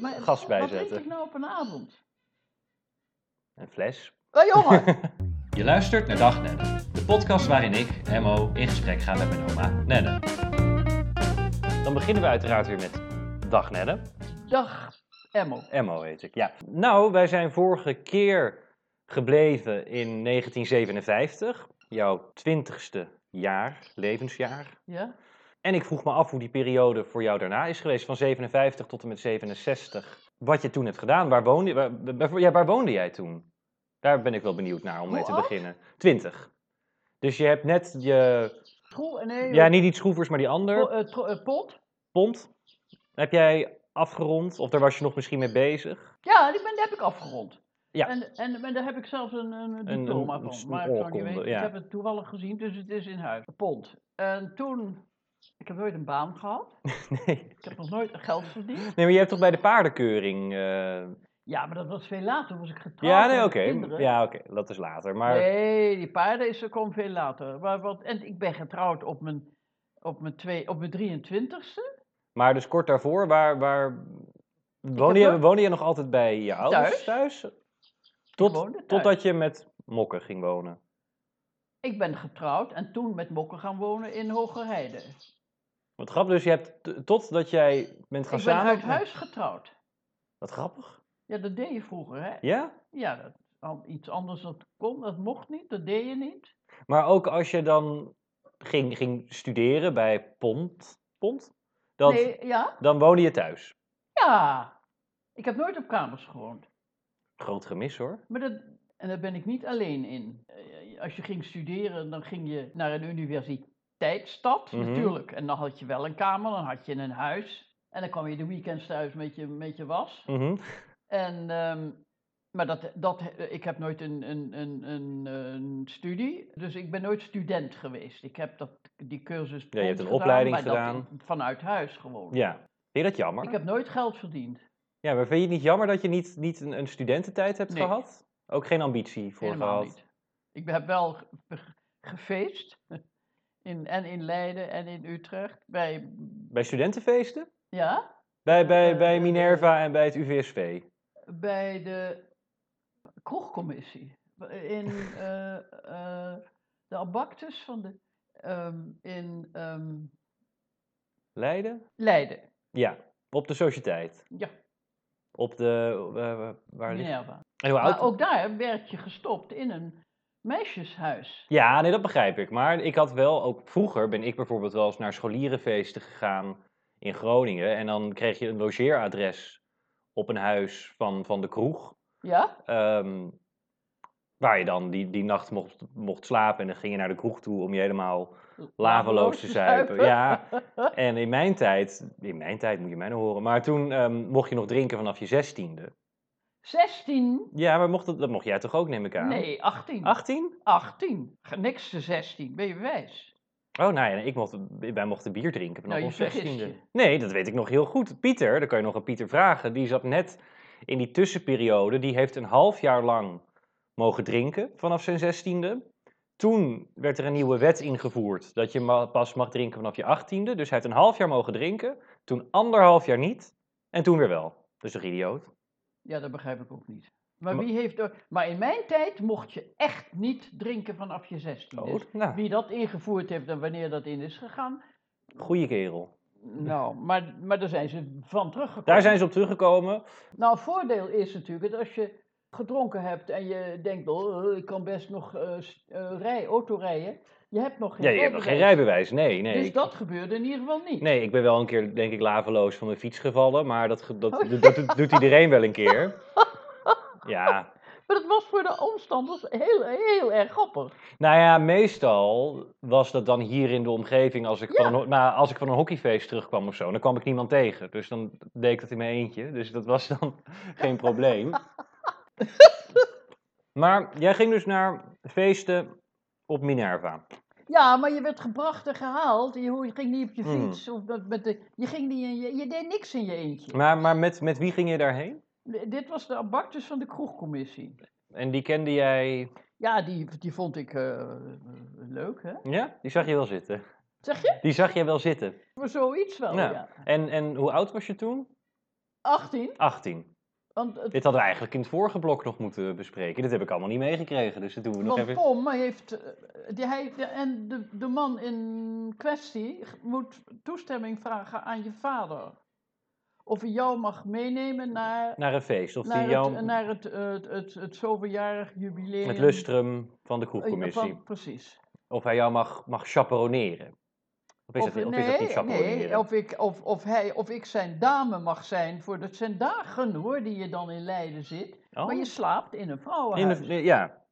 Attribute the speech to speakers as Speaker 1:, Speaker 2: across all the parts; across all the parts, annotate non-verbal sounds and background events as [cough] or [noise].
Speaker 1: Maar
Speaker 2: Gas bijzetten.
Speaker 1: Wat drink ik nou op een
Speaker 2: [laughs]
Speaker 1: avond?
Speaker 2: Een fles.
Speaker 1: Nou jongen!
Speaker 2: [laughs] Je luistert naar Dag Nenne, de podcast waarin ik, Emmo, in gesprek ga met mijn oma Nenne. Dan beginnen we uiteraard weer met Dag Nenne.
Speaker 1: [laughs] Dag, Emmo.
Speaker 2: Emmo heet ik, ja. Nou, wij zijn vorige keer gebleven in 1957, jouw twintigste jaar, levensjaar.
Speaker 1: Ja?
Speaker 2: En ik vroeg me af hoe die periode voor jou daarna is geweest, van 57 tot en met 67. Wat je toen hebt gedaan, waar woonde, waar, waar- ja, waar woonde jij toen? Daar ben ik wel benieuwd naar om mee
Speaker 1: Hoe
Speaker 2: te
Speaker 1: oud?
Speaker 2: beginnen. 20. Dus je hebt net je,
Speaker 1: School en nee,
Speaker 2: ja,
Speaker 1: eh,
Speaker 2: niet die schroevers, maar die
Speaker 1: po-
Speaker 2: ander,
Speaker 1: eh, tro- eh, pot.
Speaker 2: pond, heb jij afgerond of daar was je nog misschien mee bezig?
Speaker 1: Ja, die, ben, die heb ik afgerond.
Speaker 2: Ja.
Speaker 1: En, en, en daar heb ik zelfs een, een diploma
Speaker 2: een-
Speaker 1: van.
Speaker 2: een
Speaker 1: maar ik, zou niet
Speaker 2: oorkonde,
Speaker 1: weten.
Speaker 2: ja.
Speaker 1: ik heb het toevallig gezien, dus het is in huis. Pond. En toen, ik heb nooit een baan gehad.
Speaker 2: [laughs] Nee.
Speaker 1: Ik heb nog nooit geld verdiend.
Speaker 2: Nee, maar je hebt toch bij de paardenkeuring. eh,
Speaker 1: Ja, maar dat was veel later. Toen was ik getrouwd.
Speaker 2: Ja,
Speaker 1: en
Speaker 2: nee,
Speaker 1: had
Speaker 2: oké.
Speaker 1: kinderen.
Speaker 2: Ja, oké. Dat is later. Maar
Speaker 1: Nee, die paarden is er kwam veel later. Maar wat, en ik ben getrouwd op mijn, op mijn, twee, op mijn 23ste.
Speaker 2: Maar dus kort daarvoor, waar, waar... Woonde,
Speaker 1: heb
Speaker 2: je,
Speaker 1: ook-
Speaker 2: woonde je nog altijd bij je ouders
Speaker 1: Thuis.
Speaker 2: thuis? Tot,
Speaker 1: woonde thuis.
Speaker 2: Totdat je met Mokken ging wonen.
Speaker 1: Ik ben getrouwd en toen met Mokken gaan wonen in Hogerheide.
Speaker 2: Wat grappig, dus je hebt t- totdat jij bent
Speaker 1: Ik
Speaker 2: gaan
Speaker 1: ben
Speaker 2: samen...
Speaker 1: uit huis getrouwd.
Speaker 2: Wat grappig.
Speaker 1: Ja, dat deed je vroeger, hè?
Speaker 2: Ja?
Speaker 1: Ja, dat, al iets anders dat kon, dat mocht niet, dat deed je niet.
Speaker 2: Maar ook als je dan ging, ging studeren bij Pont, Pont dat,
Speaker 1: Nee, ja?
Speaker 2: dan woonde je thuis.
Speaker 1: Ja. Ik heb nooit op kamers gewoond.
Speaker 2: Groot gemis hoor.
Speaker 1: Maar dat, en daar ben ik niet alleen in. Eh, Als je ging studeren, dan ging je naar een universiteitsstad,
Speaker 2: Mhm.
Speaker 1: natuurlijk. En dan had je wel een kamer, dan had je een huis. En dan kwam je de weekends thuis met je, met je was.
Speaker 2: Mhm.
Speaker 1: En, ehm, maar dat, dat, eh, ik heb nooit een, een, een, een, een studie, dus ik ben nooit student geweest. Ik heb dat, die cursus.
Speaker 2: Ja, je hebt
Speaker 1: prompt
Speaker 2: een opleiding
Speaker 1: maar dat
Speaker 2: gedaan.
Speaker 1: vanuit huis gewoon.
Speaker 2: Ja. Vind je dat jammer?
Speaker 1: Ik heb nooit geld verdiend.
Speaker 2: Ja, maar vind je het niet jammer dat je niet, niet een, een studententijd hebt
Speaker 1: Nee.
Speaker 2: gehad? Ook geen ambitie voor
Speaker 1: Helemaal
Speaker 2: gehad?
Speaker 1: niet. Ik heb wel ge- ge- gefeest. [laughs] In, en in Leiden en in Utrecht. Bij,
Speaker 2: Bij studentenfeesten?
Speaker 1: ja,
Speaker 2: Bij, bij,
Speaker 1: Eh,
Speaker 2: bij
Speaker 1: eh,
Speaker 2: Minerva en bij het UVSV.
Speaker 1: bij de kroegcommissie.
Speaker 2: [laughs]
Speaker 1: In eh, eh, de Abactus van de. ehm, in ehm,
Speaker 2: Leiden?
Speaker 1: Leiden.
Speaker 2: Ja, op de sociëteit.
Speaker 1: Ja,
Speaker 2: Op de. eh, eh, waar ligt
Speaker 1: Minerva.
Speaker 2: en hoe oud?
Speaker 1: Maar ook daar werd je gestopt in een meisjeshuis.
Speaker 2: Ja, nee, dat begrijp ik. Maar ik had wel ook. Vroeger ben ik bijvoorbeeld wel eens naar scholierenfeesten gegaan in Groningen. En dan kreeg je een logeeradres op een huis van, van de kroeg.
Speaker 1: Ja?
Speaker 2: Ehm, waar je dan die, die nacht mocht, mocht slapen. En dan ging je naar de kroeg toe om je helemaal laveloos te zuipen. Ja, en in mijn tijd, in mijn tijd moet je mij nou horen, maar toen ehm, mocht je nog drinken vanaf je zestiende.
Speaker 1: 16?
Speaker 2: Ja, maar mocht dat, dat mocht jij toch ook, neem ik aan?
Speaker 1: Nee, 18.
Speaker 2: 18?
Speaker 1: 18. Ge- Niks te 16. Ben je wijs?
Speaker 2: Oh, nou ja, ik mocht, wij mochten bier drinken vanaf
Speaker 1: Nou, je
Speaker 2: ons
Speaker 1: vergist
Speaker 2: zestiende.
Speaker 1: je.
Speaker 2: Nee, dat weet ik nog heel goed. Pieter, daar kan je nog aan Pieter vragen, die zat net in die tussenperiode, die heeft een half jaar lang mogen drinken vanaf zijn zestiende. Toen werd er een nieuwe wet ingevoerd dat je ma- pas mag drinken vanaf je achttiende. Dus hij heeft een half jaar mogen drinken, toen anderhalf jaar niet en toen weer wel. Dus toch idioot?
Speaker 1: Ja, dat begrijp ik ook niet. Maar,
Speaker 2: Maar-
Speaker 1: wie heeft er... maar in mijn tijd mocht je echt niet drinken vanaf je 16.
Speaker 2: Oh, nou,
Speaker 1: Wie dat ingevoerd heeft en wanneer dat in is gegaan.
Speaker 2: goeie kerel.
Speaker 1: Nou, maar, maar daar zijn ze van teruggekomen.
Speaker 2: Daar zijn ze op teruggekomen.
Speaker 1: Nou, een voordeel is natuurlijk dat als je gedronken hebt en je denkt, oh, ik kan best nog eh, s- eh, rij, auto rijden. Je hebt nog geen
Speaker 2: Ja, je hebt nog geen
Speaker 1: rijbewijs.
Speaker 2: rijbewijs. Nee, nee.
Speaker 1: Dus
Speaker 2: ik-
Speaker 1: dat gebeurde in ieder geval niet.
Speaker 2: Nee, ik ben wel een keer, denk ik, laveloos van mijn fiets gevallen. Maar dat, ge- dat,
Speaker 1: Oh.
Speaker 2: dat, dat doet- doet iedereen wel een
Speaker 1: [laughs]
Speaker 2: keer. Ja.
Speaker 1: Maar dat was voor de omstanders heel, heel erg grappig.
Speaker 2: Nou ja, meestal was dat dan hier in de omgeving. Als ik,
Speaker 1: Ja.
Speaker 2: van, een, ho- nou, als ik van een hockeyfeest terugkwam of zo, dan kwam ik niemand tegen. Dus dan deed ik dat in mijn eentje. Dus dat was dan [laughs] geen
Speaker 1: [laughs]
Speaker 2: probleem. Maar jij ging dus naar feesten op Minerva.
Speaker 1: Ja, maar je werd gebracht en gehaald. Je ho- je ging niet op je
Speaker 2: Hmm.
Speaker 1: fiets. Of met- met de, je, ging niet in je, je deed niks in je eentje.
Speaker 2: Maar, maar met, met wie ging je daarheen?
Speaker 1: D- Dit was de abactus van de kroegcommissie.
Speaker 2: En die kende jij...
Speaker 1: Ja, die, die vond ik eh, leuk, hè?
Speaker 2: Ja, die zag je wel zitten.
Speaker 1: Zeg je?
Speaker 2: Die zag je wel zitten. Nou.
Speaker 1: Voor zoiets wel,
Speaker 2: Ja.
Speaker 1: ja.
Speaker 2: En, en hoe oud was je toen?
Speaker 1: 18?
Speaker 2: 18.
Speaker 1: Want het
Speaker 2: Dit hadden we eigenlijk in het vorige blok nog moeten bespreken. Dit heb ik allemaal niet meegekregen, dus dat doen we nog
Speaker 1: Want
Speaker 2: even.
Speaker 1: Pom heeft. eh, Die, hij, de- en de, de man in kwestie moet toestemming vragen aan je vader. Of hij jou mag meenemen naar,
Speaker 2: Naar een feest, of
Speaker 1: naar,
Speaker 2: die jou,
Speaker 1: het, naar het, eh, het, het, het zoveeljarig jubileum.
Speaker 2: het lustrum van de
Speaker 1: eh,
Speaker 2: kroegcommissie.
Speaker 1: van- Precies.
Speaker 2: Of hij jou mag, mag chaperoneren. Of is, dat, of is dat niet chaperoneren?
Speaker 1: nee of, ik, of, of, hij, of ik zijn dame mag zijn. Voor, dat zijn dagen hoor, die je dan in Leiden zit.
Speaker 2: Oh.
Speaker 1: Maar je slaapt in een
Speaker 2: In
Speaker 1: vrouwenhuis.
Speaker 2: de- ja.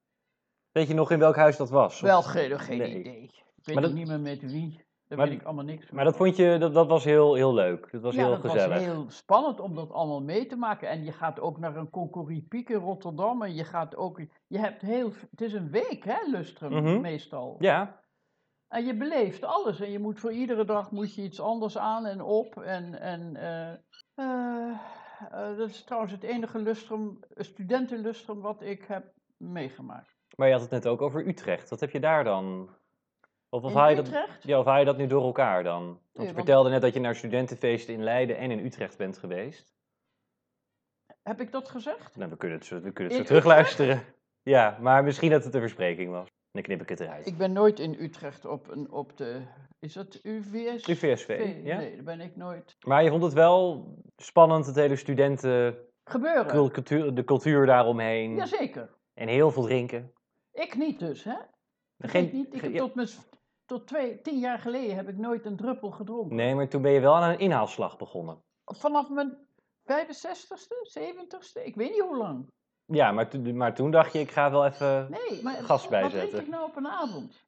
Speaker 2: Weet je nog in welk huis dat was? Of-
Speaker 1: Wel, geen, geen
Speaker 2: Nee.
Speaker 1: idee. Ik weet
Speaker 2: Maar dat-
Speaker 1: ook niet meer met wie. Daar
Speaker 2: Maar-
Speaker 1: weet ik allemaal niks van.
Speaker 2: Maar dat vond je, dat, dat was heel, heel leuk. Dat was
Speaker 1: ja,
Speaker 2: heel
Speaker 1: dat
Speaker 2: gezellig.
Speaker 1: was heel spannend om dat allemaal mee te maken. En je gaat ook naar een Concoripiek in Rotterdam. En je gaat ook... Je hebt heel... Het is een week, hè, Lustrum,
Speaker 2: Mhm.
Speaker 1: meestal.
Speaker 2: Ja,
Speaker 1: En je beleeft alles. En je moet voor iedere dag moet je iets anders aan en op. En... en eh, eh, eh, dat is trouwens het enige lustrum, studentenlustrum wat ik heb meegemaakt.
Speaker 2: maar je had het net ook over Utrecht. Wat heb je daar dan? Of, of,
Speaker 1: In
Speaker 2: haal, je dat,
Speaker 1: Utrecht?
Speaker 2: ja, of haal je dat nu door elkaar dan? Want je
Speaker 1: want-
Speaker 2: vertelde net dat je naar studentenfeesten in Leiden en in Utrecht bent geweest.
Speaker 1: Heb ik dat gezegd?
Speaker 2: Nou, we kunnen het zo, we kunnen het
Speaker 1: In
Speaker 2: zo terugluisteren. Ja, maar misschien dat het een verspreking was. Dan knip ik het eruit.
Speaker 1: Ik ben nooit in Utrecht op, een, op de... Is dat UVS?
Speaker 2: UVSV, ja.
Speaker 1: Nee, daar ben ik nooit...
Speaker 2: Maar je vond het wel spannend, het hele studenten,
Speaker 1: gebeuren.
Speaker 2: cul- cultuur, de cultuur daaromheen.
Speaker 1: Jazeker.
Speaker 2: En heel veel drinken.
Speaker 1: Ik niet dus, hè?
Speaker 2: Geen-
Speaker 1: ik niet. Ik
Speaker 2: geen-
Speaker 1: heb tot, mijn, s- tot twee, tien jaar geleden heb ik nooit een druppel gedronken.
Speaker 2: Nee, maar toen ben je wel aan een inhaalslag begonnen.
Speaker 1: Vanaf mijn 65ste, 70ste, ik weet niet hoe lang.
Speaker 2: Ja, maar, toen- maar toen dacht je, ik ga wel even
Speaker 1: Nee, maar
Speaker 2: Gas
Speaker 1: wat drink
Speaker 2: bijzetten.
Speaker 1: ik nou op een
Speaker 2: [laughs]
Speaker 1: avond?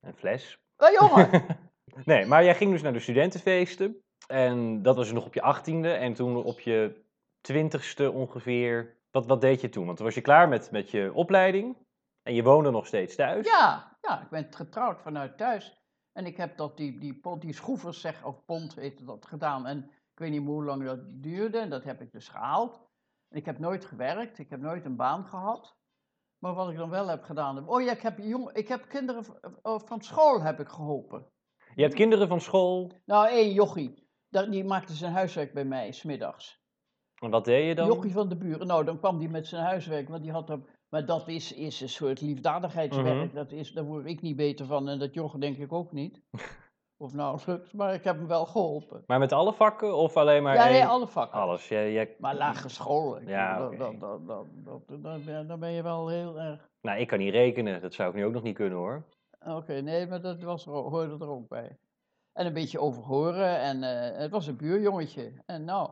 Speaker 2: een fles.
Speaker 1: Hé jongen,
Speaker 2: [laughs] nee, maar jij ging dus naar de studentenfeesten. En dat was nog op je achttiende. En toen op je twintigste ongeveer. Wat, wat deed je toen? Want toen was je klaar met, met je opleiding. En je woonde nog steeds thuis.
Speaker 1: ja, ja, ik ben getrouwd vanuit thuis. En ik heb dat die, die, pont, die schroevers, zeg, of pont heette dat, gedaan. En ik weet niet meer hoe lang dat duurde. En dat heb ik dus gehaald. En ik heb nooit gewerkt. Ik heb nooit een baan gehad. Maar wat ik dan wel heb gedaan... Oh ja, ik heb, jong, ik heb kinderen v- eh, van school heb ik geholpen.
Speaker 2: Je hebt kinderen van school.
Speaker 1: Nou, één jochie. dat- Die maakte zijn huiswerk bij mij, smiddags.
Speaker 2: En wat deed je dan?
Speaker 1: Jochie van de buren. Nou, dan kwam die met zijn huiswerk, want die had hem... Maar dat is, is een soort liefdadigheidswerk.
Speaker 2: Mhm.
Speaker 1: dat is, daar word ik niet beter van. En dat joch denk ik ook
Speaker 2: [laughs]
Speaker 1: niet. of nauwelijks. Maar ik heb hem wel geholpen.
Speaker 2: Maar met alle vakken of alleen maar
Speaker 1: ja,
Speaker 2: één?
Speaker 1: nee, alle vakken.
Speaker 2: Alles. Jij, jij-
Speaker 1: Maar lagere scholen, ik
Speaker 2: Ja,
Speaker 1: bedoel, dan,
Speaker 2: oké.
Speaker 1: dan, dan, dan, dan, dan ben- dan ben je wel heel erg...
Speaker 2: Nou, ik kan niet rekenen. Dat zou ik nu ook nog niet kunnen hoor.
Speaker 1: Oké, nee, maar dat was, er ook- hoorde er ook bij. En een beetje overhoren en eh, het was een buurjongetje. En nou,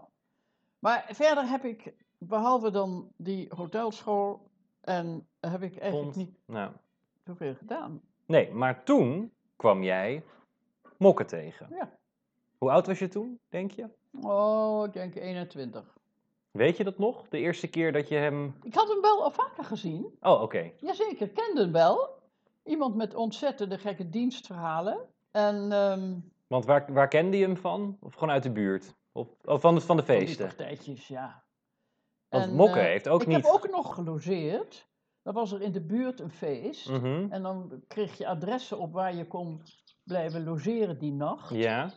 Speaker 1: maar verder heb ik, behalve dan die hotelschool, en heb ik eigenlijk
Speaker 2: Pond.
Speaker 1: niet
Speaker 2: Nou,
Speaker 1: zoveel gedaan.
Speaker 2: nee, maar toen kwam jij mokken tegen.
Speaker 1: Ja.
Speaker 2: Hoe oud was je toen, denk je?
Speaker 1: Oh, ik denk 21.
Speaker 2: Weet je dat nog? De eerste keer dat je hem.
Speaker 1: Ik had hem wel al vaker gezien.
Speaker 2: Oh, oké.
Speaker 1: Jazeker, kende hem wel. Iemand met ontzettende gekke dienstverhalen. En ehm,
Speaker 2: Want waar, waar kende je hem van? Of gewoon uit de buurt? Of, of van, de, van de
Speaker 1: Van die
Speaker 2: feesten?
Speaker 1: partijtjes, ja.
Speaker 2: Want
Speaker 1: En,
Speaker 2: Mokke
Speaker 1: eh,
Speaker 2: heeft ook
Speaker 1: ik
Speaker 2: niet.
Speaker 1: heb ook nog gelogeerd. Dan was er in de buurt een feest.
Speaker 2: Mhm.
Speaker 1: En dan kreeg je adressen op waar je kon blijven logeren die nacht.
Speaker 2: Ja.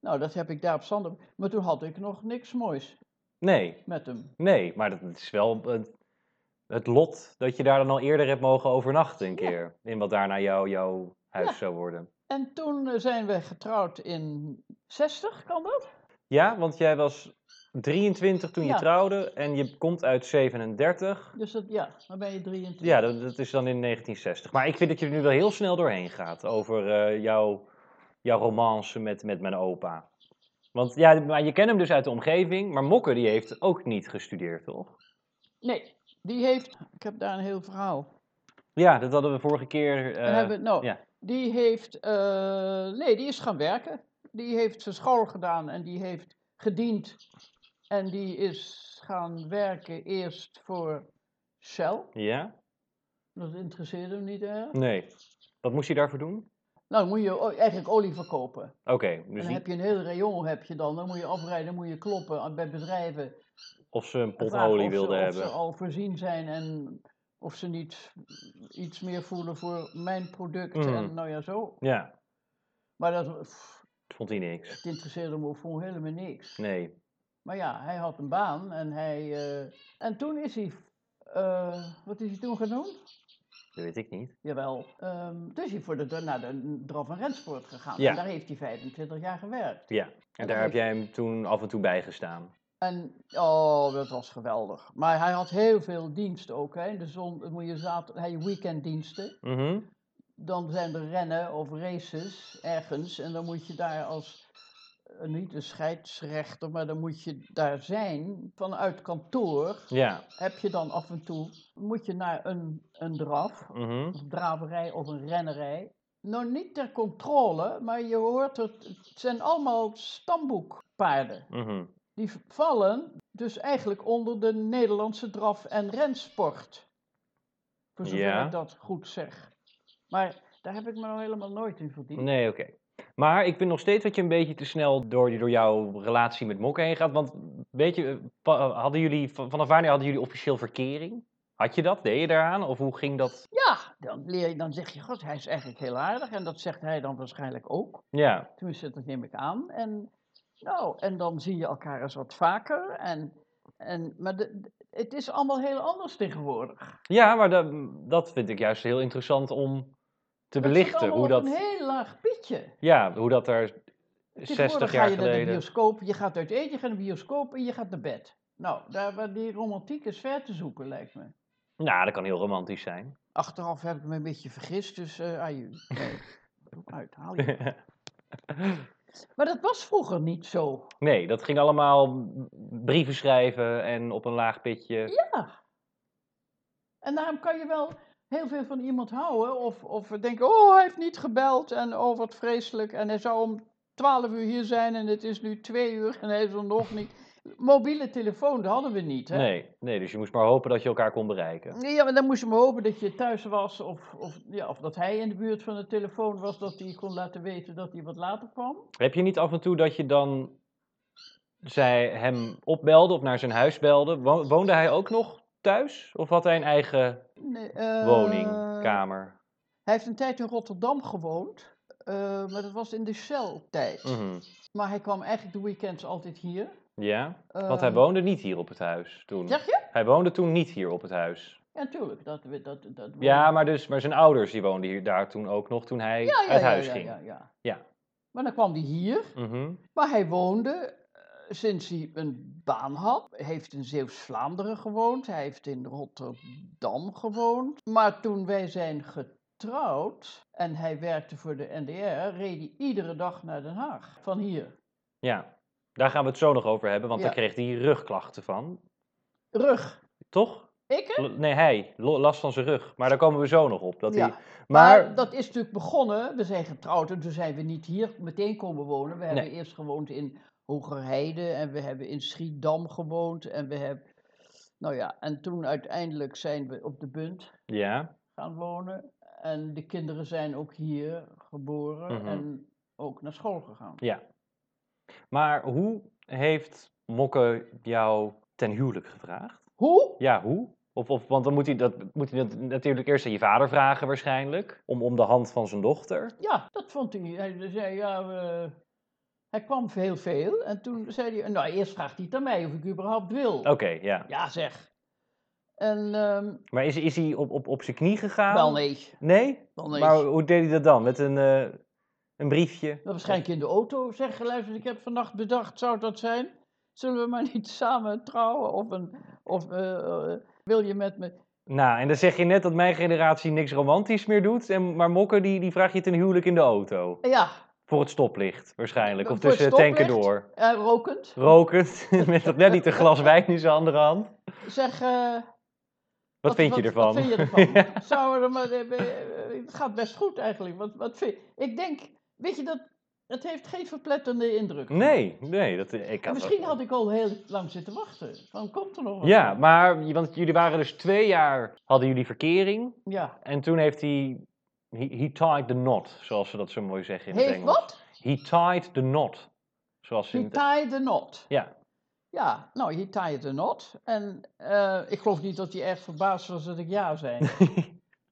Speaker 1: Nou, dat heb ik daar op Sander. Maar toen had ik nog niks moois
Speaker 2: Nee,
Speaker 1: met hem.
Speaker 2: nee, maar dat is wel het, het lot dat je daar dan al eerder hebt mogen overnachten een
Speaker 1: Ja.
Speaker 2: keer. In wat daarna jou, jouw huis
Speaker 1: Ja.
Speaker 2: zou worden.
Speaker 1: En toen eh, zijn we getrouwd in 60, kan dat?
Speaker 2: Ja, want jij was 23 toen
Speaker 1: Ja.
Speaker 2: je trouwde en je komt uit 37.
Speaker 1: Dus dat, ja, dan ben je 23.
Speaker 2: Ja, dat, dat is dan in 1960. Maar ik vind dat je er nu wel heel snel doorheen gaat over eh, jouw, jouw romance met, met mijn opa. Want ja, maar je kent hem dus uit de omgeving, maar Mokke die heeft ook niet gestudeerd, toch?
Speaker 1: Nee, die heeft. Ik heb daar een heel verhaal.
Speaker 2: Ja, dat hadden we vorige keer. eh,
Speaker 1: We hebben, nou,
Speaker 2: ja.
Speaker 1: die heeft, eh, nee, die is gaan werken. Die heeft zijn school gedaan en die heeft gediend. En die is gaan werken eerst voor Shell.
Speaker 2: Ja?
Speaker 1: Dat interesseerde hem niet erg.
Speaker 2: Nee. Wat moest hij daarvoor doen?
Speaker 1: Nou, dan moet je o- eigenlijk olie verkopen.
Speaker 2: Oké,
Speaker 1: En
Speaker 2: dus
Speaker 1: dan
Speaker 2: niet
Speaker 1: heb je een heel rayon heb je dan. Dan moet je afrijden, dan moet je kloppen aan- bij bedrijven. en
Speaker 2: of ze een pot
Speaker 1: vragen
Speaker 2: olie
Speaker 1: of ze-
Speaker 2: wilden
Speaker 1: Of
Speaker 2: hebben.
Speaker 1: ze al voorzien zijn en of ze niet iets meer voelen voor mijn product.
Speaker 2: Mhm.
Speaker 1: En nou ja, zo.
Speaker 2: Ja,
Speaker 1: Maar dat, pff,
Speaker 2: dat vond hij niks.
Speaker 1: Het interesseerde me gewoon helemaal niks.
Speaker 2: Nee.
Speaker 1: Maar ja, hij had een baan en hij. eh, en toen is hij. eh, wat is hij toen genoemd?
Speaker 2: Dat weet ik niet.
Speaker 1: Jawel. ehm toen is hij voor de, de- naar de Draf en Rensport gegaan.
Speaker 2: Ja.
Speaker 1: En daar heeft hij 25 jaar gewerkt.
Speaker 2: Ja. En daar heb jij hem toen af en toe bij gestaan.
Speaker 1: En oh, dat was geweldig. Maar hij had heel veel diensten ook. Hè. In de zon moet je zaterdag, hij weekenddiensten.
Speaker 2: Mhm.
Speaker 1: Dan zijn er rennen of races ergens. En dan moet je daar als, eh, niet een scheidsrechter, maar dan moet je daar zijn. Vanuit kantoor
Speaker 2: Ja.
Speaker 1: heb je dan af en toe, moet je naar een, een draf
Speaker 2: Mhm.
Speaker 1: of draverij of een rennerij. Nou, niet ter controle, maar je hoort het. Het zijn allemaal stamboekpaarden.
Speaker 2: Mhm.
Speaker 1: Die v- vallen dus eigenlijk onder de Nederlandse draf- en rensport. Voor zover
Speaker 2: Ja.
Speaker 1: ik dat goed zeg. Maar daar heb ik me nou helemaal nooit in verdiend.
Speaker 2: Nee, oké. Maar ik vind nog steeds dat je een beetje te snel door, door jouw relatie met Mokke heen gaat. Want weet je, eh, pa- hadden jullie, v- vanaf wanneer hadden jullie officieel verkering? Had je dat? Deed je daaraan? Of hoe ging dat?
Speaker 1: Ja, dan, leer je, dan zeg je, god, hij is eigenlijk heel aardig. En dat zegt hij dan waarschijnlijk ook.
Speaker 2: Ja.
Speaker 1: Tenminste, dat neem ik aan. En, nou, en dan zie je elkaar eens wat vaker. En, en, maar de- de- het is allemaal heel anders tegenwoordig.
Speaker 2: Ja, maar dat, dat vind ik juist heel interessant om te
Speaker 1: het
Speaker 2: belichten.
Speaker 1: zit
Speaker 2: Hoe
Speaker 1: allemaal op
Speaker 2: dat,
Speaker 1: een heel laag pitje.
Speaker 2: ja, hoe dat er 60
Speaker 1: Tegenwoordig
Speaker 2: jaar
Speaker 1: ga je naar de
Speaker 2: geleden...
Speaker 1: bioscoop, je gaat uit eten, je gaat naar de bioscoop en je gaat naar bed. Nou, daar, waar die romantiek is ver te zoeken, lijkt me.
Speaker 2: Nou, dat kan heel romantisch zijn. [laughs]
Speaker 1: Achteraf heb ik me een beetje vergist, dus eh aju. Nee,
Speaker 2: [laughs]
Speaker 1: uit, haal je. Maar dat was vroeger niet zo.
Speaker 2: nee, dat ging allemaal brieven schrijven en op een laag pitje.
Speaker 1: Ja. En daarom kan je wel heel veel van iemand houden. Of, of denken, oh, hij heeft niet gebeld. En oh, wat vreselijk. En hij zou om twaalf uur hier zijn en het is nu twee uur en hij is er nog niet. Mobiele telefoon, dat hadden we niet, hè?
Speaker 2: Nee, nee, dus je moest maar hopen dat je elkaar kon bereiken.
Speaker 1: Ja, maar dan moest je maar hopen dat je thuis was. Of, of, ja, of dat hij in de buurt van de telefoon was. Dat hij kon laten weten dat hij wat later kwam.
Speaker 2: Heb je niet af en toe dat je dan zij hem opbelde of naar zijn huis belde? Wo- Woonde hij ook nog thuis? Of had hij een eigen
Speaker 1: Nee, eh,
Speaker 2: woning, kamer?
Speaker 1: Hij heeft een tijd in Rotterdam gewoond. eh, maar dat was in de Shell-tijd.
Speaker 2: Mhm.
Speaker 1: Maar hij kwam eigenlijk de weekends altijd hier.
Speaker 2: Ja, want hij
Speaker 1: Ehm,
Speaker 2: woonde niet hier op het huis toen.
Speaker 1: Zeg je?
Speaker 2: Hij woonde toen niet hier op het huis.
Speaker 1: Ja, tuurlijk. Dat, we- dat, dat,
Speaker 2: Ja, maar, dus, maar zijn ouders die woonden hier, daar toen ook nog toen hij
Speaker 1: Ja, ja,
Speaker 2: uit
Speaker 1: ja,
Speaker 2: huis
Speaker 1: ja,
Speaker 2: ging.
Speaker 1: Ja, ja.
Speaker 2: Ja.
Speaker 1: Maar dan kwam hij hier.
Speaker 2: Mhm.
Speaker 1: Maar hij woonde, eh, sinds hij een baan had, heeft in Zeeuws-Vlaanderen gewoond. Hij heeft in Rotterdam gewoond. Maar toen wij zijn getrouwd en hij werkte voor de NDR, reed hij iedere dag naar Den Haag. Van hier.
Speaker 2: Ja, daar gaan we het zo nog over hebben, want
Speaker 1: Ja.
Speaker 2: daar kreeg hij rugklachten van.
Speaker 1: Rug.
Speaker 2: Toch?
Speaker 1: Ik hè?
Speaker 2: L- nee, hij. Lo- Last van zijn rug. Maar daar komen we zo nog op. Dat
Speaker 1: Ja.
Speaker 2: hij...
Speaker 1: Maar,
Speaker 2: Maar,
Speaker 1: dat is natuurlijk begonnen. We zijn getrouwd en toen zijn we niet hier meteen komen wonen. We hebben
Speaker 2: Nee.
Speaker 1: eerst gewoond in Hogerheide en we hebben in Schiedam gewoond. En we hebben, nou ja, en toen uiteindelijk zijn we op de Bunt
Speaker 2: Ja,
Speaker 1: gaan wonen. En de kinderen zijn ook hier geboren
Speaker 2: Mhm.
Speaker 1: en ook naar school gegaan.
Speaker 2: ja. Maar hoe heeft Mokke jou ten huwelijk gevraagd?
Speaker 1: Hoe?
Speaker 2: Ja, hoe? Of, of, want dan moet hij, dat, moet hij dat natuurlijk eerst aan je vader vragen waarschijnlijk. Om, om de hand van zijn dochter.
Speaker 1: Ja, dat vond hij. Hij zei, ja, we- hij kwam heel veel. En toen zei hij, nou eerst vraagt hij het aan mij of ik überhaupt wil.
Speaker 2: Oké, ja.
Speaker 1: Ja zeg. En ehm,
Speaker 2: Maar is, is hij op, op, op zijn knie gegaan?
Speaker 1: wel nee.
Speaker 2: Nee?
Speaker 1: Wel nee.
Speaker 2: Maar hoe deed hij dat dan? Met een, eh, een briefje?
Speaker 1: Nou, waarschijnlijk in de auto zeggen, luister, ik heb vannacht bedacht, zou dat zijn? Zullen we maar niet [laughs] samen trouwen? Of, een, of eh, eh, wil je met me?
Speaker 2: Nou, en dan zeg je net dat mijn generatie niks romantisch meer doet. En, maar Mokke, die, die vraag je ten huwelijk in de auto.
Speaker 1: Eh, Ja,
Speaker 2: Voor het stoplicht waarschijnlijk. Of
Speaker 1: Voor het
Speaker 2: tussen de tanken
Speaker 1: stoplicht?
Speaker 2: door.
Speaker 1: eh, rokend.
Speaker 2: Rokend, [laughs] met dat net niet een glas wijn in zijn andere hand. Wat,
Speaker 1: Zeg, eh, wat,
Speaker 2: vind je ervan?
Speaker 1: Wat vind je ervan? Zouden we er maar, eh, eh, eh, het gaat best goed eigenlijk. Wat, wat vind, ik denk, weet je, dat, het heeft geen verpletterende indruk.
Speaker 2: [laughs] nee, nee. Dat, ik
Speaker 1: En
Speaker 2: had
Speaker 1: misschien
Speaker 2: dat-
Speaker 1: had ik al heel lang zitten wachten. Van, komt er nog wat?
Speaker 2: Ja, maar want jullie waren dus twee jaar, hadden jullie verkering.
Speaker 1: Ja.
Speaker 2: En toen heeft hij, he, he tied the knot, zoals ze dat zo mooi zeggen in het
Speaker 1: Heeft
Speaker 2: Engels.
Speaker 1: wat?
Speaker 2: He tied the knot. Zoals ze in
Speaker 1: He
Speaker 2: het-
Speaker 1: tied the knot.
Speaker 2: Ja.
Speaker 1: Ja, nou, he tied the knot. En eh, ik geloof niet dat hij erg verbaasd was dat ik ja
Speaker 2: [laughs]
Speaker 1: zei.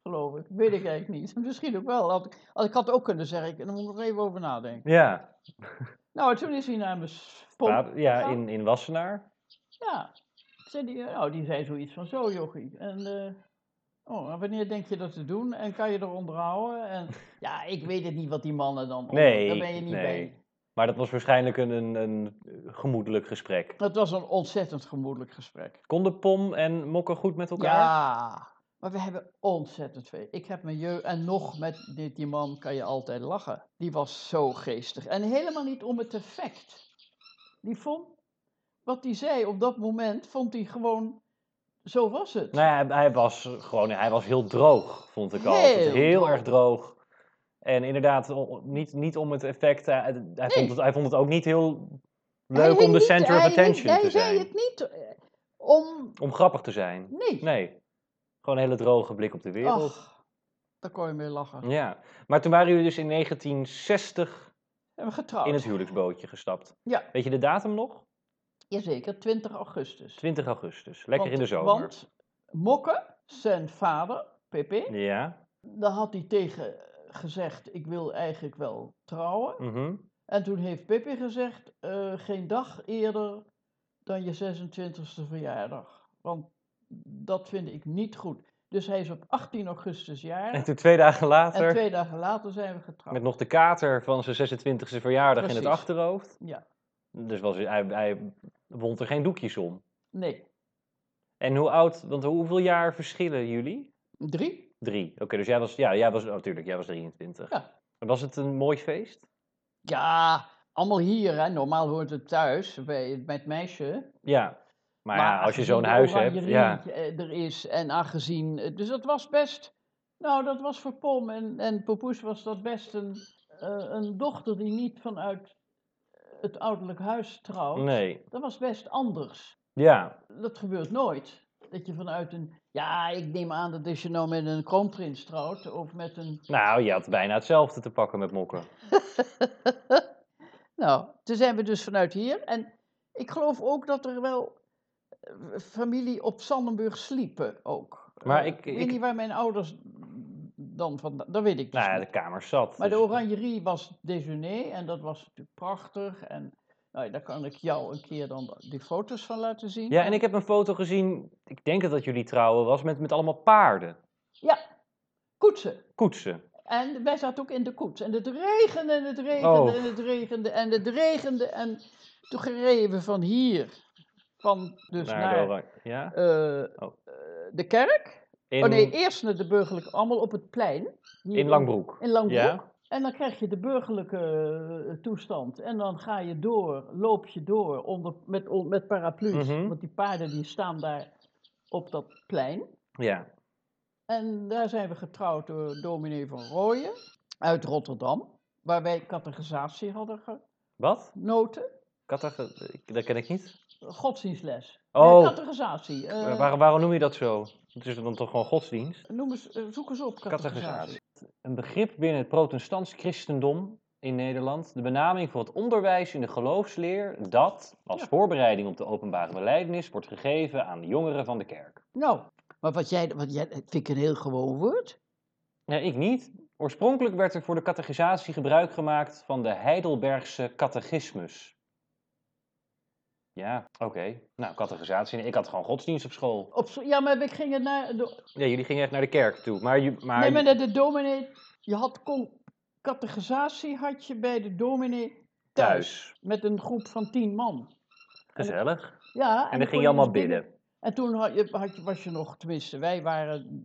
Speaker 1: geloof ik. Weet ik eigenlijk niet. Misschien ook wel. Had ik, had, ik had ook kunnen zeggen, ik, daar moet ik nog even over nadenken.
Speaker 2: ja,
Speaker 1: Nou, toen is hij naar de pomp.
Speaker 2: Praat- Ja,
Speaker 1: gegaan.
Speaker 2: in, in Wassenaar.
Speaker 1: Ja. Zei die, nou, die zei zoiets van, zo jochie. En, eh, oh, en wanneer denk je dat te doen? En kan je er onderhouden?
Speaker 2: [laughs]
Speaker 1: En, ja, ik weet het niet wat die mannen dan...
Speaker 2: Nee,
Speaker 1: daar ben je niet
Speaker 2: nee.
Speaker 1: bij.
Speaker 2: Maar dat was waarschijnlijk een, een, een gemoedelijk gesprek.
Speaker 1: Het was een ontzettend gemoedelijk gesprek.
Speaker 2: Konden Pom en Mokke goed met elkaar?
Speaker 1: Ja, maar we hebben ontzettend veel. Ik heb mijn jeugd... En nog met dit, die man kan je altijd lachen. Die was zo geestig. En helemaal niet om het effect. Die vond... Wat hij zei op dat moment, vond hij gewoon... Zo was het.
Speaker 2: Nou ja, hij- hij was gewoon hij was heel droog, vond ik al.
Speaker 1: Heel
Speaker 2: Heel, heel
Speaker 1: droog.
Speaker 2: erg droog. En inderdaad, o- niet, niet om het effect. eh, Hij, hij, vond het, hij vond het ook niet heel
Speaker 1: Hij
Speaker 2: leuk
Speaker 1: hing
Speaker 2: om de
Speaker 1: niet-
Speaker 2: center of
Speaker 1: hij hing-
Speaker 2: attention te
Speaker 1: Hij zei
Speaker 2: zijn.
Speaker 1: het niet eh, om...
Speaker 2: Om grappig te zijn.
Speaker 1: Nee.
Speaker 2: Nee. Gewoon een hele droge blik op de wereld.
Speaker 1: Ach, daar kon je mee lachen.
Speaker 2: Ja. Maar toen waren jullie dus in 1960
Speaker 1: En we getrouwd.
Speaker 2: in het huwelijksbootje gestapt.
Speaker 1: Oh. Ja.
Speaker 2: Weet je de datum nog?
Speaker 1: Jazeker, 20 augustus.
Speaker 2: 20 augustus. Lekker
Speaker 1: Want-
Speaker 2: in de zomer.
Speaker 1: Want Mokke, zijn vader, Pepe,
Speaker 2: Ja.
Speaker 1: daar had hij tegen gezegd, ik wil eigenlijk wel trouwen.
Speaker 2: mhm.
Speaker 1: En toen heeft Pepe gezegd, eh, geen dag eerder dan je 26e verjaardag. Want dat vind ik niet goed. Dus hij is op 18 augustus jaar.
Speaker 2: En toen twee dagen later,
Speaker 1: en twee dagen later zijn we getrouwd.
Speaker 2: met nog de kater van zijn 26e verjaardag in het
Speaker 1: Nou. Precies.
Speaker 2: achterhoofd.
Speaker 1: Ja,
Speaker 2: Dus was, hij, hij wond er geen doekjes om.
Speaker 1: nee.
Speaker 2: En hoe oud, want hoeveel jaar verschillen jullie?
Speaker 1: Drie?
Speaker 2: Drie. Oké, dus jij was, ja, jij was, oh, tuurlijk, jij was 23.
Speaker 1: Ja.
Speaker 2: En Was het een mooi feest?
Speaker 1: Ja, allemaal hier, hè. Normaal hoort het thuis bij, bij het meisje.
Speaker 2: Ja. Maar, ja, als je
Speaker 1: aangezien
Speaker 2: zo'n
Speaker 1: de
Speaker 2: huis hebt,
Speaker 1: oranjerie,
Speaker 2: ja.
Speaker 1: eh, er is en aangezien... eh, Dus dat was best... Nou, dat was voor Pom en, en Popoes was dat best een, eh, een dochter die niet vanuit eh, het ouderlijk huis trouwt.
Speaker 2: Nee.
Speaker 1: Dat was best anders.
Speaker 2: Ja.
Speaker 1: Dat gebeurt nooit. Dat je vanuit een... Ja, ik neem aan dat als je nou met een kroonprins trouwt of met een...
Speaker 2: Nou, je had bijna hetzelfde te pakken met mokken.
Speaker 1: nou, toen zijn we dus vanuit hier. En ik geloof ook dat er wel eh, familie op Sandenburg sliepen ook.
Speaker 2: Maar
Speaker 1: Eh,
Speaker 2: ik-
Speaker 1: weet
Speaker 2: ik-
Speaker 1: niet waar mijn ouders dan vandaan... Dat weet ik dus
Speaker 2: Nou ja,
Speaker 1: niet.
Speaker 2: de kamer zat.
Speaker 1: Maar de
Speaker 2: dus-
Speaker 1: oranjerie was déjeuner en dat was natuurlijk prachtig. En nou, ja, daar kan ik jou een keer dan die foto's van laten zien.
Speaker 2: Ja, en ik heb een foto gezien, ik denk dat dat jullie trouwen was, met, met allemaal paarden.
Speaker 1: Koetsen.
Speaker 2: Koetsen.
Speaker 1: En wij zaten ook in de koets. En het regende en het regende
Speaker 2: Oh.
Speaker 1: en het regende en het regende. En toen gereden we van hier, van dus
Speaker 2: naar
Speaker 1: naar,
Speaker 2: de oran- ja?
Speaker 1: eh,
Speaker 2: Oh.
Speaker 1: eh, de kerk.
Speaker 2: In,
Speaker 1: Oh nee, eerst naar de burgerlijke, allemaal op het plein. Hier
Speaker 2: in Langbroek.
Speaker 1: In Langbroek.
Speaker 2: Ja.
Speaker 1: En dan krijg je de burgerlijke eh, toestand. En dan ga je door, loop je door onder, met, on- met paraplu's.
Speaker 2: Mhm.
Speaker 1: Want die paarden die staan daar op dat plein.
Speaker 2: Ja.
Speaker 1: En daar zijn we getrouwd door dominee van Rooyen uit Rotterdam. Waar wij catechisatie hadden
Speaker 2: Wat?
Speaker 1: genoten.
Speaker 2: Katag- ik- dat ken ik niet.
Speaker 1: Godsdienstles.
Speaker 2: Oh.
Speaker 1: Nee, catechisatie. eh,
Speaker 2: Maar Waarom, waarom noem je dat zo? Het is dan toch gewoon godsdienst?
Speaker 1: noem eens, eh, zoek eens op, catechisatie.
Speaker 2: Catechisatie. Een begrip binnen het protestants christendom in Nederland. De benaming voor het onderwijs in de geloofsleer dat, als
Speaker 1: Ja.
Speaker 2: voorbereiding op de openbare belijdenis, wordt gegeven aan de jongeren van de kerk.
Speaker 1: Nou, maar wat jij, wat jij vind ik een heel gewoon woord.
Speaker 2: Nee, ik niet. Oorspronkelijk werd er voor de catechisatie gebruik gemaakt van de Heidelbergse catechismus. Ja, oké. Nou, catechisatie. Ik had gewoon godsdienst op school.
Speaker 1: Op, zo- ja, maar we gingen naar de,
Speaker 2: Ja, jullie gingen echt naar de kerk toe. Maar, ju- maar,
Speaker 1: nee, maar naar de dominee. Je had con, catechisatie had je bij de dominee thuis,
Speaker 2: thuis.
Speaker 1: met een groep van tien man.
Speaker 2: Gezellig.
Speaker 1: Ja, dan
Speaker 2: En dan
Speaker 1: kon
Speaker 2: ging je allemaal
Speaker 1: dus
Speaker 2: bidden.
Speaker 1: En toen had je, had je, was je nog, tenminste, wij waren,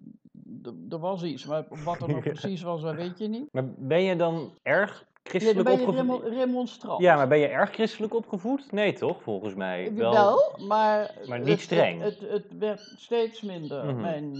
Speaker 1: d- er was iets, maar wat
Speaker 2: [laughs]
Speaker 1: er nog
Speaker 2: Ja.
Speaker 1: precies was, dat weet je niet.
Speaker 2: Maar ben je dan erg
Speaker 1: Ja, dan
Speaker 2: christelijk
Speaker 1: ben je
Speaker 2: opgevoed?
Speaker 1: remo- remonstrant.
Speaker 2: Ja, maar ben je erg christelijk opgevoed? Nee, toch? Volgens mij.
Speaker 1: wel, maar,
Speaker 2: maar
Speaker 1: het-
Speaker 2: niet
Speaker 1: het-
Speaker 2: streng.
Speaker 1: Het, het, werd steeds minder,
Speaker 2: Mhm.
Speaker 1: mijn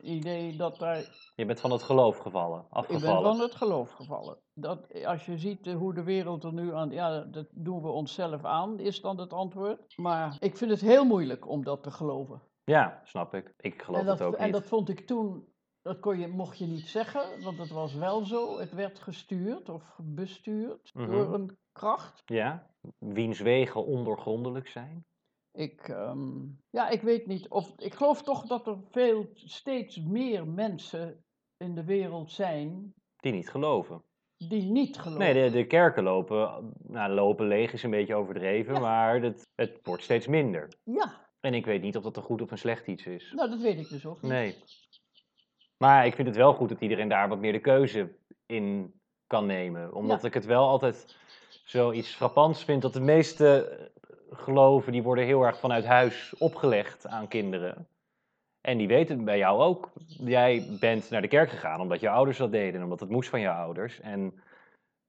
Speaker 1: idee dat daar
Speaker 2: Je bent van het geloof gevallen,
Speaker 1: Ik ben
Speaker 2: afgevallen.
Speaker 1: van het geloof gevallen. Dat, als je ziet eh, hoe de wereld er nu aan... Ja, dat doen we onszelf aan, is dan het antwoord. Maar ik vind het heel moeilijk om dat te geloven.
Speaker 2: Ja, snap ik. Ik geloof
Speaker 1: en dat,
Speaker 2: het ook
Speaker 1: en
Speaker 2: niet.
Speaker 1: dat vond ik toen... Dat kon je, mocht je niet zeggen, want het was wel zo. Het werd gestuurd of bestuurd
Speaker 2: Mhm.
Speaker 1: door een kracht.
Speaker 2: Ja? Wiens wegen ondoorgrondelijk zijn?
Speaker 1: Ik, ehm, ja, ik weet niet of... Ik geloof toch dat er veel, steeds meer mensen in de wereld zijn... Oh.
Speaker 2: Die niet geloven.
Speaker 1: die niet geloven.
Speaker 2: Nee, de, de kerken lopen, nou, lopen leeg is een beetje overdreven,
Speaker 1: Ja.
Speaker 2: maar het, het wordt steeds minder.
Speaker 1: Ja,
Speaker 2: En ik weet niet of dat een goed of een slecht iets is.
Speaker 1: nou dat weet ik dus ook niet.
Speaker 2: Nee. Maar ik vind het wel goed dat iedereen daar wat meer de keuze in kan nemen. Omdat
Speaker 1: Ja.
Speaker 2: ik het wel altijd zoiets frappants vind dat de meeste eh, geloven, die worden heel erg vanuit huis opgelegd aan kinderen. En die weten het bij jou ook. Jij bent naar de kerk gegaan omdat je ouders dat deden, en omdat het moest van je ouders. En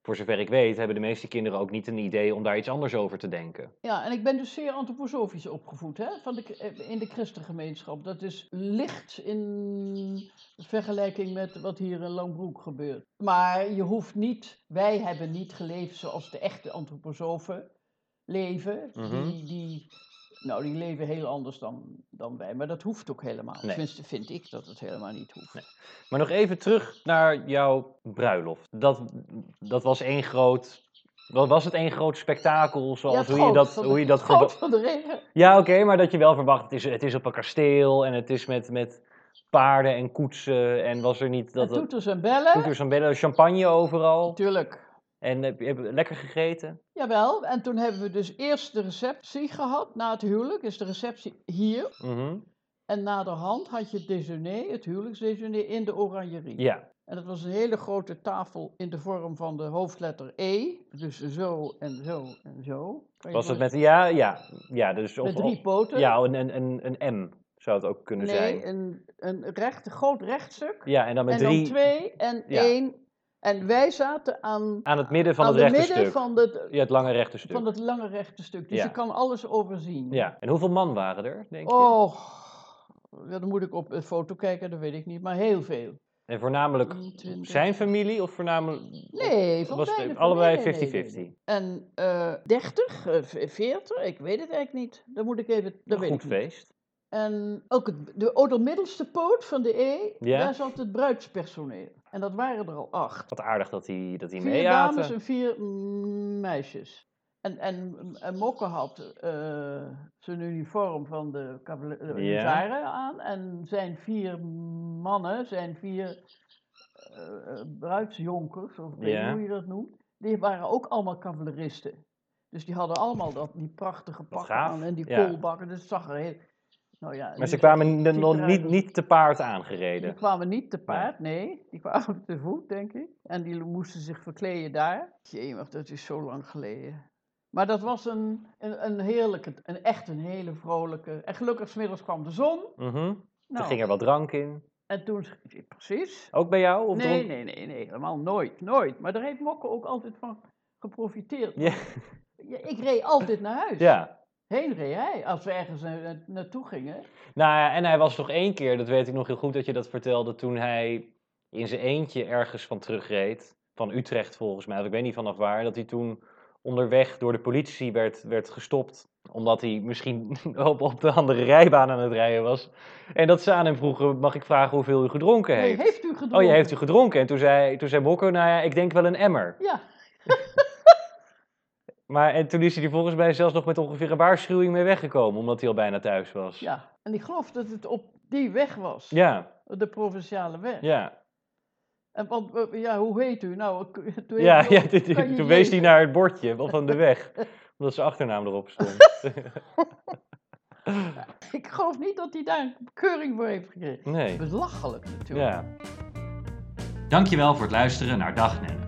Speaker 2: voor zover ik weet, hebben de meeste kinderen ook niet een idee om daar iets anders over te denken.
Speaker 1: Ja, en ik ben dus zeer antroposofisch opgevoed hè, van de, eh, in de christengemeenschap. Dat is licht in vergelijking met wat hier in Langbroek gebeurt. Maar je hoeft niet, wij hebben niet geleefd zoals de echte antroposofen leven.
Speaker 2: Mhm.
Speaker 1: die, die, nou, die leven heel anders dan, dan wij, maar dat hoeft ook helemaal.
Speaker 2: Nee.
Speaker 1: Tenminste vind ik dat het helemaal niet hoeft.
Speaker 2: Maar nog even terug naar jouw bruiloft. Dat, dat was één groot. Wat was het één groot spektakel? Zoals
Speaker 1: Ja, het
Speaker 2: hoe, je
Speaker 1: goot
Speaker 2: dat,
Speaker 1: van de-
Speaker 2: hoe je dat
Speaker 1: goot
Speaker 2: verwa-
Speaker 1: van de regen.
Speaker 2: Ja, oké, maar dat je wel verwacht. Het is, het is op een kasteel en het is met, met paarden en koetsen. En was er niet dat.
Speaker 1: en
Speaker 2: dat
Speaker 1: toeters en bellen.
Speaker 2: toeters en bellen, champagne overal.
Speaker 1: Natuurlijk.
Speaker 2: En heb, je- heb je lekker gegeten?
Speaker 1: Jawel, en toen hebben we dus eerst de receptie gehad. Na het huwelijk is de receptie hier.
Speaker 2: Mhm.
Speaker 1: En naderhand had je het dejeuner, het huwelijksdejeuner, in de oranjerie.
Speaker 2: Ja.
Speaker 1: En dat was een hele grote tafel in de vorm van de hoofdletter E. Dus zo en zo en zo. Kan je
Speaker 2: Was het
Speaker 1: voor-
Speaker 2: met. Ja, ja. ja dus op,
Speaker 1: met drie
Speaker 2: op-
Speaker 1: poten?
Speaker 2: Ja, een, een, een, een M zou het ook kunnen
Speaker 1: nee,
Speaker 2: zijn.
Speaker 1: een, een recht, een groot rechtstuk.
Speaker 2: Ja, en dan met
Speaker 1: en
Speaker 2: drie.
Speaker 1: dan twee en
Speaker 2: Ja.
Speaker 1: één. En wij zaten aan,
Speaker 2: Aan het midden van
Speaker 1: aan
Speaker 2: het
Speaker 1: de
Speaker 2: rechte
Speaker 1: midden
Speaker 2: stuk.
Speaker 1: van, het,
Speaker 2: Ja, het lange rechte stuk.
Speaker 1: van het lange rechte stuk. Dus
Speaker 2: Ja.
Speaker 1: je kan alles overzien.
Speaker 2: Ja, en hoeveel man waren er, denk je?
Speaker 1: Mm. Oh, ja, dan moet ik op een foto kijken, dat weet ik niet, maar heel veel.
Speaker 2: En voornamelijk
Speaker 1: 20.
Speaker 2: zijn familie of voornamelijk...
Speaker 1: Mm, Nee, van
Speaker 2: was het
Speaker 1: beide
Speaker 2: allebei
Speaker 1: familie.
Speaker 2: 50-50.
Speaker 1: En eh 30, eh, v- 40, ik weet het eigenlijk niet. Dan moet ik even, dat weet
Speaker 2: Een Nou, goed
Speaker 1: ik niet.
Speaker 2: feest.
Speaker 1: En ook het, de, oh, de middelste poot van de E,
Speaker 2: Ja.
Speaker 1: daar zat het bruidspersoneel. En dat waren er al acht.
Speaker 2: Wat aardig dat die, dat die
Speaker 1: Vier
Speaker 2: mee
Speaker 1: dames
Speaker 2: aten.
Speaker 1: en vier mm, meisjes. En, en, en Mokke had eh, zijn uniform van de cavalieren aan. En zijn vier mannen, zijn vier eh, bruidsjonkers, of ik weet
Speaker 2: Ja.
Speaker 1: niet hoe je dat noemt, die waren ook allemaal cavaleristen. Dus die hadden allemaal dat, die prachtige pakken
Speaker 2: gaaf,
Speaker 1: aan en die
Speaker 2: ja.
Speaker 1: koolbakken. Dus het zag er heel... Nou ja,
Speaker 2: Maar ze
Speaker 1: niet-
Speaker 2: kwamen n-
Speaker 1: ziet
Speaker 2: nog
Speaker 1: eruit
Speaker 2: niet,
Speaker 1: als-
Speaker 2: niet te paard
Speaker 1: die
Speaker 2: aangereden.
Speaker 1: kwamen niet te paard, nee. Die kwamen te voet, denk ik. En die moesten zich verkleden daar. Jemig, dat is zo lang geleden. Maar dat was een, een, een heerlijke, een, echt een hele vrolijke. En gelukkig smiddags kwam de zon.
Speaker 2: Mhm.
Speaker 1: Nou,
Speaker 2: Er ging er wat drank in.
Speaker 1: En toen, sch- precies.
Speaker 2: Ook bij jou? Of
Speaker 1: Nee,
Speaker 2: dronk-
Speaker 1: nee, nee, nee, helemaal nooit, nooit. Maar daar heeft Mokke ook altijd van geprofiteerd.
Speaker 2: Ja, [laughs]
Speaker 1: Ja, ik reed altijd naar huis.
Speaker 2: ja.
Speaker 1: Heen reed hij, als we ergens na- na- naartoe gingen.
Speaker 2: Nou ja, en hij was nog één keer, dat weet ik nog heel goed dat je dat vertelde, toen hij in zijn eentje ergens van terugreed. Van Utrecht volgens mij, of ik weet niet vanaf waar. Dat hij toen onderweg door de politie werd, werd gestopt. Omdat hij misschien [laughs] op, op de andere rijbaan aan het rijden was. En dat ze aan hem vroegen, mag ik vragen hoeveel u gedronken
Speaker 1: Nee,
Speaker 2: heeft?
Speaker 1: heeft u gedronken?
Speaker 2: Oh, je heeft u gedronken. En toen zei, toen zei Bokko, nou ja, ik denk wel een emmer.
Speaker 1: Ja,
Speaker 2: Maar en toen is hij er volgens mij zelfs nog met ongeveer een waarschuwing mee weggekomen. Omdat hij al bijna thuis was.
Speaker 1: ja. En ik geloof dat het op die weg was.
Speaker 2: Ja,
Speaker 1: De provinciale weg.
Speaker 2: ja.
Speaker 1: En want, eh, ja, hoe heet u? Nou, k- [laughs] toen heet
Speaker 2: Ja,
Speaker 1: u
Speaker 2: ja
Speaker 1: ook-
Speaker 2: dit-
Speaker 1: kan je
Speaker 2: toen wees hij
Speaker 1: Jezus.
Speaker 2: naar het bordje wel
Speaker 1: [laughs]
Speaker 2: van de weg. Omdat zijn achternaam erop stond.
Speaker 1: [laughs] Ik geloof niet dat hij daar een keuring voor heeft gekregen.
Speaker 2: Nee.
Speaker 1: Belachelijk natuurlijk.
Speaker 2: Ja. Dankjewel voor het luisteren naar Dagnenne.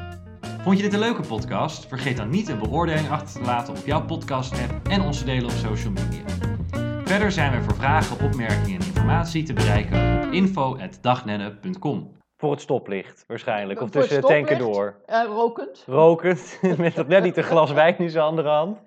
Speaker 2: Vond je dit een leuke podcast? Vergeet dan niet een beoordeling achter te laten op jouw podcast-app en ons te delen op social media. Verder zijn we voor vragen, opmerkingen en informatie te bereiken op info.dagnenne.com. Voor het stoplicht waarschijnlijk, of
Speaker 1: Voor het
Speaker 2: tussen de tanken
Speaker 1: stoplicht.
Speaker 2: door.
Speaker 1: En rokend.
Speaker 2: [laughs] Rokend, met nog net niet een glas wijn in zijn andere hand.